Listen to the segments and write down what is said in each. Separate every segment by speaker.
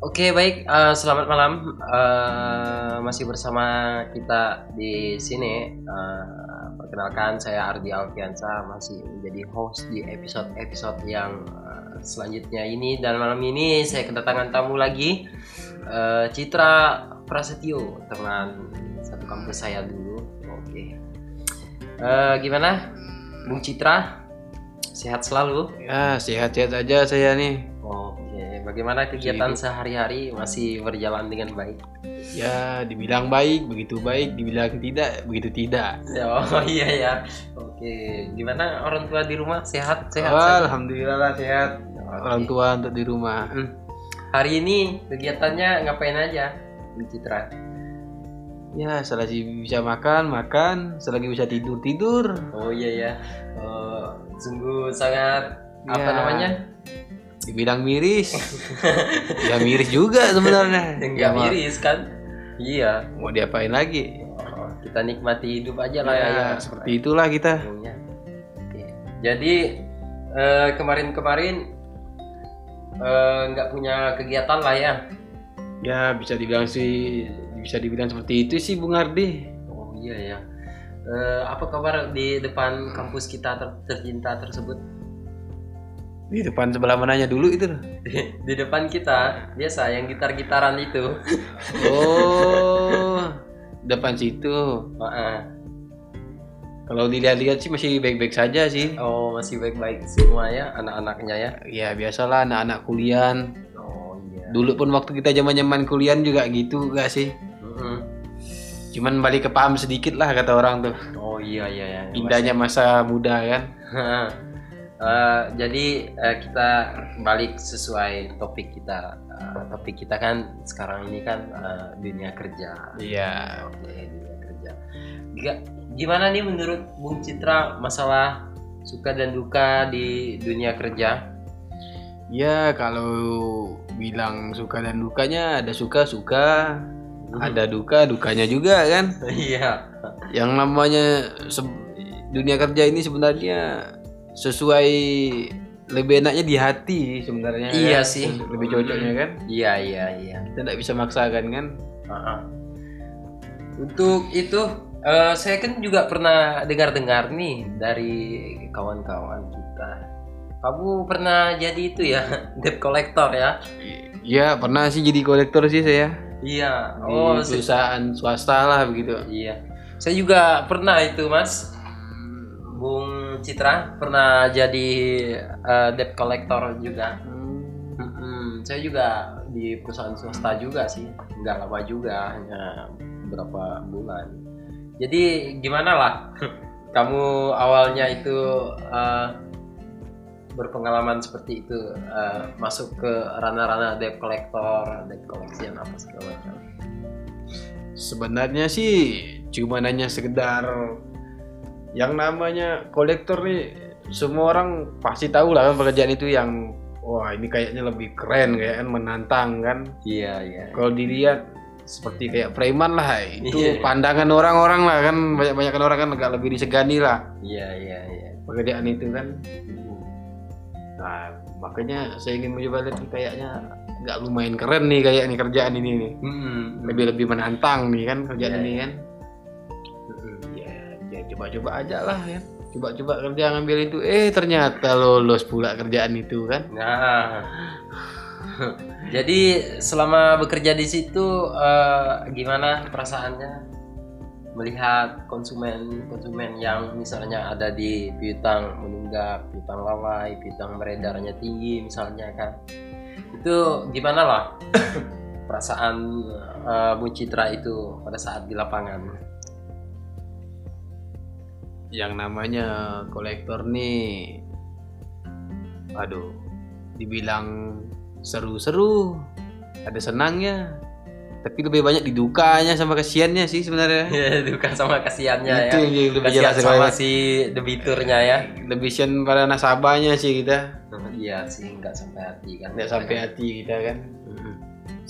Speaker 1: Oke baik, eh, selamat malam. Eh, masih bersama kita di sini. Eh, perkenalkan saya Ardi Alfiansa masih menjadi host di episode-episode yang eh, selanjutnya ini dan malam ini saya kedatangan tamu lagi Eh, Citra Prasetyo teman satu kampus saya dulu. Oke. Eh, gimana, Bung Citra? Sehat selalu.
Speaker 2: Ya, sehat-sehat aja saya nih.
Speaker 1: Oke, bagaimana kegiatan sehari-hari masih berjalan dengan baik?
Speaker 2: Ya, dibilang baik, begitu baik, dibilang tidak, begitu tidak.
Speaker 1: Oh iya ya. Oke, gimana orang tua di rumah sehat sehat?
Speaker 2: Wah,
Speaker 1: sehat?
Speaker 2: Alhamdulillah lah sehat.
Speaker 1: Oke.
Speaker 2: Orang tua untuk di rumah. Hmm.
Speaker 1: Hari ini kegiatannya ngapain aja? Bu Citra.
Speaker 2: Ya, selagi bisa makan, makan, selagi bisa tidur, tidur.
Speaker 1: Oh iya ya. Eh, sungguh sangat apa
Speaker 2: Ya.
Speaker 1: namanya?
Speaker 2: Dibilang miris. ya miris juga sebenarnya.
Speaker 1: Enggak
Speaker 2: Ya, mau-
Speaker 1: miris kan? Iya.
Speaker 2: Mau diapain lagi?
Speaker 1: Oh, kita nikmati hidup aja
Speaker 2: Ya,
Speaker 1: lah ya.
Speaker 2: seperti itulah kita.
Speaker 1: Umumnya. Oke. Jadi eh, kemarin-kemarin eh, nggak punya kegiatan lah ya.
Speaker 2: Ya, bisa dibilang sih bisa dibilang seperti itu sih Bung Ardi.
Speaker 1: Oh iya ya. Eh, apa kabar di depan kampus kita ter- tercinta tersebut?
Speaker 2: Di depan sebelah mananya dulu itu loh.
Speaker 1: Di, di depan kita biasa yang gitar-gitaran itu.
Speaker 2: Oh, depan situ.
Speaker 1: Heeh.
Speaker 2: Kalau dilihat-lihat sih masih baik-baik saja sih.
Speaker 1: Oh masih baik-baik semua ya anak-anaknya ya.
Speaker 2: Ya biasalah anak-anak kuliah.
Speaker 1: Oh iya.
Speaker 2: Dulu pun waktu kita zaman-zaman kuliah juga gitu gak sih?
Speaker 1: Mm-mm.
Speaker 2: Cuman balik ke paham sedikit lah kata orang tuh.
Speaker 1: Oh iya iya ya.
Speaker 2: Indahnya masa muda kan.
Speaker 1: Heeh. Eh, jadi eh, kita balik sesuai topik kita. Eh, topik kita kan sekarang ini kan eh, dunia kerja.
Speaker 2: Iya.
Speaker 1: Oke, dunia kerja. Giga- Gimana nih menurut Bung Citra masalah suka dan duka di dunia kerja?
Speaker 2: Ya kalau bilang suka dan dukanya ada suka suka, ada duka dukanya juga kan.
Speaker 1: Iya.
Speaker 2: Yang namanya se- dunia kerja ini sebenarnya sesuai lebih enaknya di hati sebenarnya.
Speaker 1: Iya
Speaker 2: kan?
Speaker 1: sih.
Speaker 2: Lebih cocoknya kan.
Speaker 1: Iya, iya, iya.
Speaker 2: Kita tidak bisa maksakan kan?
Speaker 1: Heeh. Untuk itu eh, saya kan juga pernah dengar-dengar nih dari kawan-kawan kita. Kamu pernah jadi itu ya, debt collector ya?
Speaker 2: Iya pernah sih jadi kolektor sih saya
Speaker 1: Iya.
Speaker 2: di
Speaker 1: Oh, se-
Speaker 2: perusahaan swasta lah begitu.
Speaker 1: iya. Saya juga pernah itu, Mas. Bung Citra pernah jadi eh, debt collector juga. Mm-mm, Saya juga di perusahaan swasta juga sih, nggak lama juga, hanya beberapa bulan. Jadi gimana lah, kamu awalnya itu eh, berpengalaman seperti itu eh, masuk ke ranah-ranah debt collector, debt collection apa segala macam.
Speaker 2: Sebenarnya sih cuma nanya sekedar yang namanya kolektor nih semua orang pasti tahu lah kan pekerjaan itu yang wah ini kayaknya lebih keren kayak kan menantang kan.
Speaker 1: Iya iya.
Speaker 2: Kalau dilihat seperti kayak preman lah itu
Speaker 1: Hmm. Iya.
Speaker 2: pandangan orang-orang lah kan banyak-banyak orang kan agak lebih disegani lah
Speaker 1: Iya iya iya.
Speaker 2: pekerjaan itu kan. Nah, makanya saya ingin mencoba lihat nih, kayaknya nggak lumayan keren nih kayak nih kerjaan ini nih.
Speaker 1: Mm-mm.
Speaker 2: Lebih lebih menantang nih kan kerjaan
Speaker 1: Iya,
Speaker 2: ini kan. Ya, ya coba-coba aja lah ya. Coba-coba kerja ngambil itu. Eh ternyata lolos pula kerjaan itu kan.
Speaker 1: Nah, jadi selama bekerja di situ eh, gimana perasaannya melihat konsumen-konsumen yang misalnya ada di piutang menunggak, piutang lalai, piutang beredarnya tinggi misalnya kan, itu gimana lah perasaan eh, Bu Citra itu pada saat di lapangan?
Speaker 2: Yang namanya kolektor nih. Aduh, dibilang seru-seru, ada senangnya. Tapi lebih banyak didukanya sama kasihannya sih sebenarnya.
Speaker 1: Duka kan sama kasihannya
Speaker 2: itu
Speaker 1: ya.
Speaker 2: yang lebih
Speaker 1: Kasihan
Speaker 2: jelas
Speaker 1: sama si debiturnya ya.
Speaker 2: lebih sian pada nasabahnya sih kita
Speaker 1: Iya sih nggak sampai hati kan.
Speaker 2: nggak sampai hati kita kan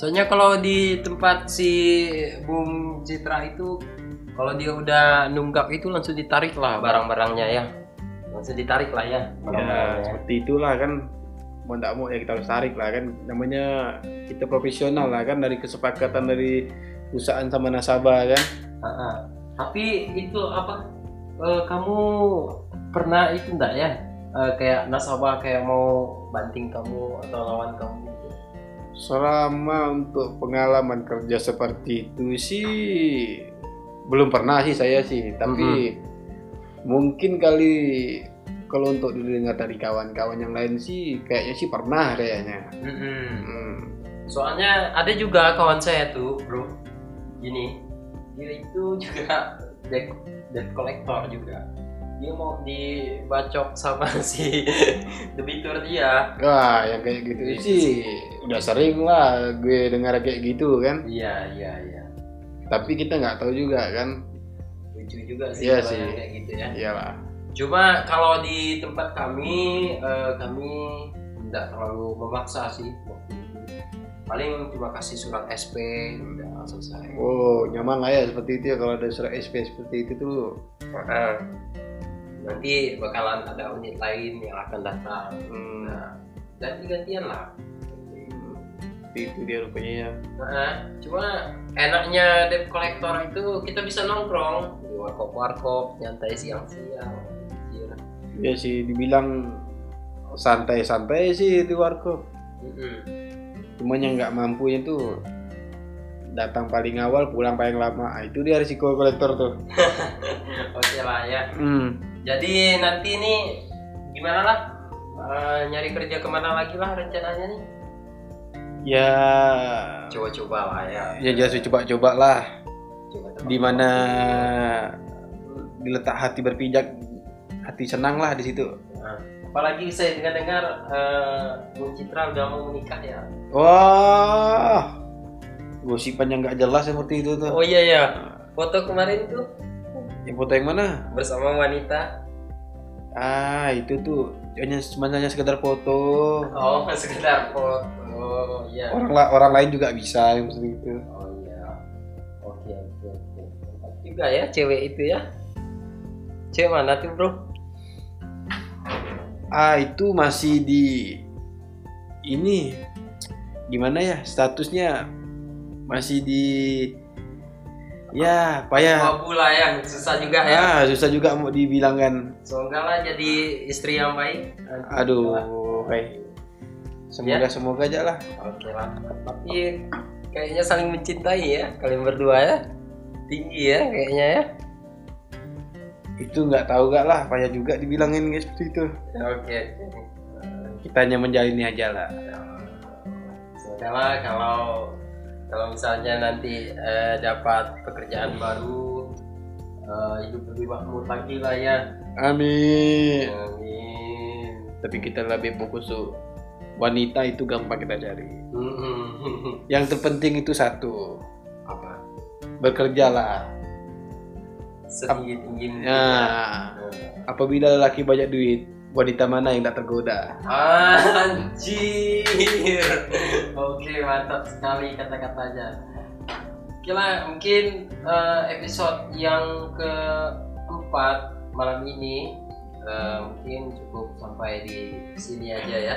Speaker 1: Soalnya kalau di tempat si Bung Citra itu kalau dia udah nunggak itu langsung ditarik lah barang-barangnya ya. Langsung ditarik lah ya
Speaker 2: ya
Speaker 1: barang-barangnya.
Speaker 2: seperti itulah kan mau tidak mau ya kita harus tarik lah kan namanya kita profesional lah kan dari kesepakatan dari perusahaan sama nasabah kan
Speaker 1: Heeh. Tapi itu apa? eh, kamu pernah itu enggak ya? Eh, kayak nasabah kayak mau banting kamu atau lawan kamu gitu.
Speaker 2: selama untuk pengalaman kerja seperti itu sih belum pernah sih saya sih tapi mungkin kali kalau untuk didengar dari kawan-kawan yang lain sih kayaknya sih pernah kayaknya
Speaker 1: Mm-mm.
Speaker 2: Hmm.
Speaker 1: Soalnya ada juga kawan saya tuh, Bro. Gini. Dia itu juga debt, debt collector juga. Dia mau dibacok sama si debitur dia.
Speaker 2: wah yang kayak gitu
Speaker 1: Gitu
Speaker 2: sih udah sering lah gue dengar kayak gitu kan
Speaker 1: Iya, iya, iya.
Speaker 2: tapi kita nggak tahu juga kan
Speaker 1: Lucu juga sih
Speaker 2: Iya
Speaker 1: kalau
Speaker 2: sih.
Speaker 1: yang kayak gitu ya.
Speaker 2: iyalah
Speaker 1: Cuma kalau di tempat kami, eh, kami tidak terlalu memaksa sih waktu itu. Paling cuma kasih surat SP, udah selesai.
Speaker 2: oh nyaman lah ya seperti itu ya kalau ada surat SP seperti itu tuh
Speaker 1: Heeh. Nanti bakalan ada unit lain yang akan datang.
Speaker 2: hmm,
Speaker 1: Nah, ganti-gantian lah.
Speaker 2: seperti itu dia rupanya ya
Speaker 1: Heeh. cuma enaknya debt collector itu kita bisa nongkrong di warkop-warkop, nyantai siang-siang. Iya. Anjir.
Speaker 2: Ya sih dibilang santai-santai sih di warkop.
Speaker 1: Mm-mm.
Speaker 2: Cuman yang nggak mampunya tuh datang paling awal, pulang paling lama. Ah, itu dia risiko kolektor tuh.
Speaker 1: Oke lah ya. Jadi nanti nih gimana lah Eh, nyari kerja kemana lagi lah rencananya nih?
Speaker 2: Ya
Speaker 1: Coba-coba lah ya.
Speaker 2: ya jadi coba-coba lah
Speaker 1: Coba tempat-
Speaker 2: di mana diletak hati berpijak hati senang lah di situ.
Speaker 1: Nah, apalagi saya dengar-dengar eh, Bu Citra udah mau menikah ya.
Speaker 2: Wah. Gosipan yang nggak jelas seperti itu tuh.
Speaker 1: Oh iya ya. Foto kemarin tuh
Speaker 2: Yang foto yang mana?
Speaker 1: bersama wanita.
Speaker 2: Ah, itu tuh hanya sebenarnya sekedar foto.
Speaker 1: Oh, sekedar foto. Oh iya.
Speaker 2: orang la- orang lain juga bisa yang gitu. seperti itu
Speaker 1: Oh iya. Oke, oke, oke. Mantap Juga ya cewek itu ya. Cewek mana tuh, Bro?
Speaker 2: ah itu masih di ini gimana ya statusnya masih di ya payah
Speaker 1: Wabu lah ya, susah juga ya.
Speaker 2: ah susah juga mau dibilangkan
Speaker 1: Semoga lah jadi istri yang baik.
Speaker 2: aduh
Speaker 1: Ya.
Speaker 2: kayak semoga semoga aja lah
Speaker 1: Oke lah. Tapi kayaknya saling mencintai ya kalian berdua ya. Tinggi ya kayaknya ya.
Speaker 2: itu nggak tahu gak lah payah juga dibilangin guys seperti itu
Speaker 1: Ya, Oke. oke.
Speaker 2: kita hanya menjalani aja lah
Speaker 1: Semoga Ya, lah kalau kalau misalnya nanti eh, dapat pekerjaan baru eh, hidup lebih makmur lagi lah ya.
Speaker 2: amin
Speaker 1: Amin.
Speaker 2: tapi kita lebih fokus tuh wanita itu gampang kita cari
Speaker 1: Mm-mm.
Speaker 2: yang terpenting itu satu
Speaker 1: Apa?
Speaker 2: bekerjalah.
Speaker 1: Setinggi tingginya.
Speaker 2: Nah, apabila lelaki banyak duit, wanita mana yang tak tergoda?
Speaker 1: Anjir. Oke, mantap sekali kata-katanya. Oke lah, mungkin eh, episode yang keempat malam ini eh, mungkin cukup sampai di sini aja ya.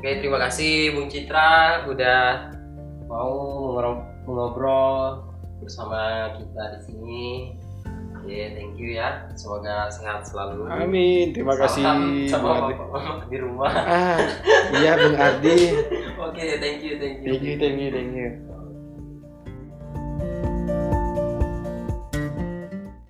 Speaker 1: Oke, terima kasih Bung Citra udah mau ngor- ngobrol bersama kita di sini. Oke, thank you ya. Semoga sehat selalu.
Speaker 2: Amin, terima kasih.
Speaker 1: Salam sama
Speaker 2: Bung Ardi.
Speaker 1: bapak-bapak di rumah.
Speaker 2: Ah, iya Bung Ardi.
Speaker 1: Oke, thank you, thank you.
Speaker 2: Thank you, thank you, thank you.
Speaker 1: Oke.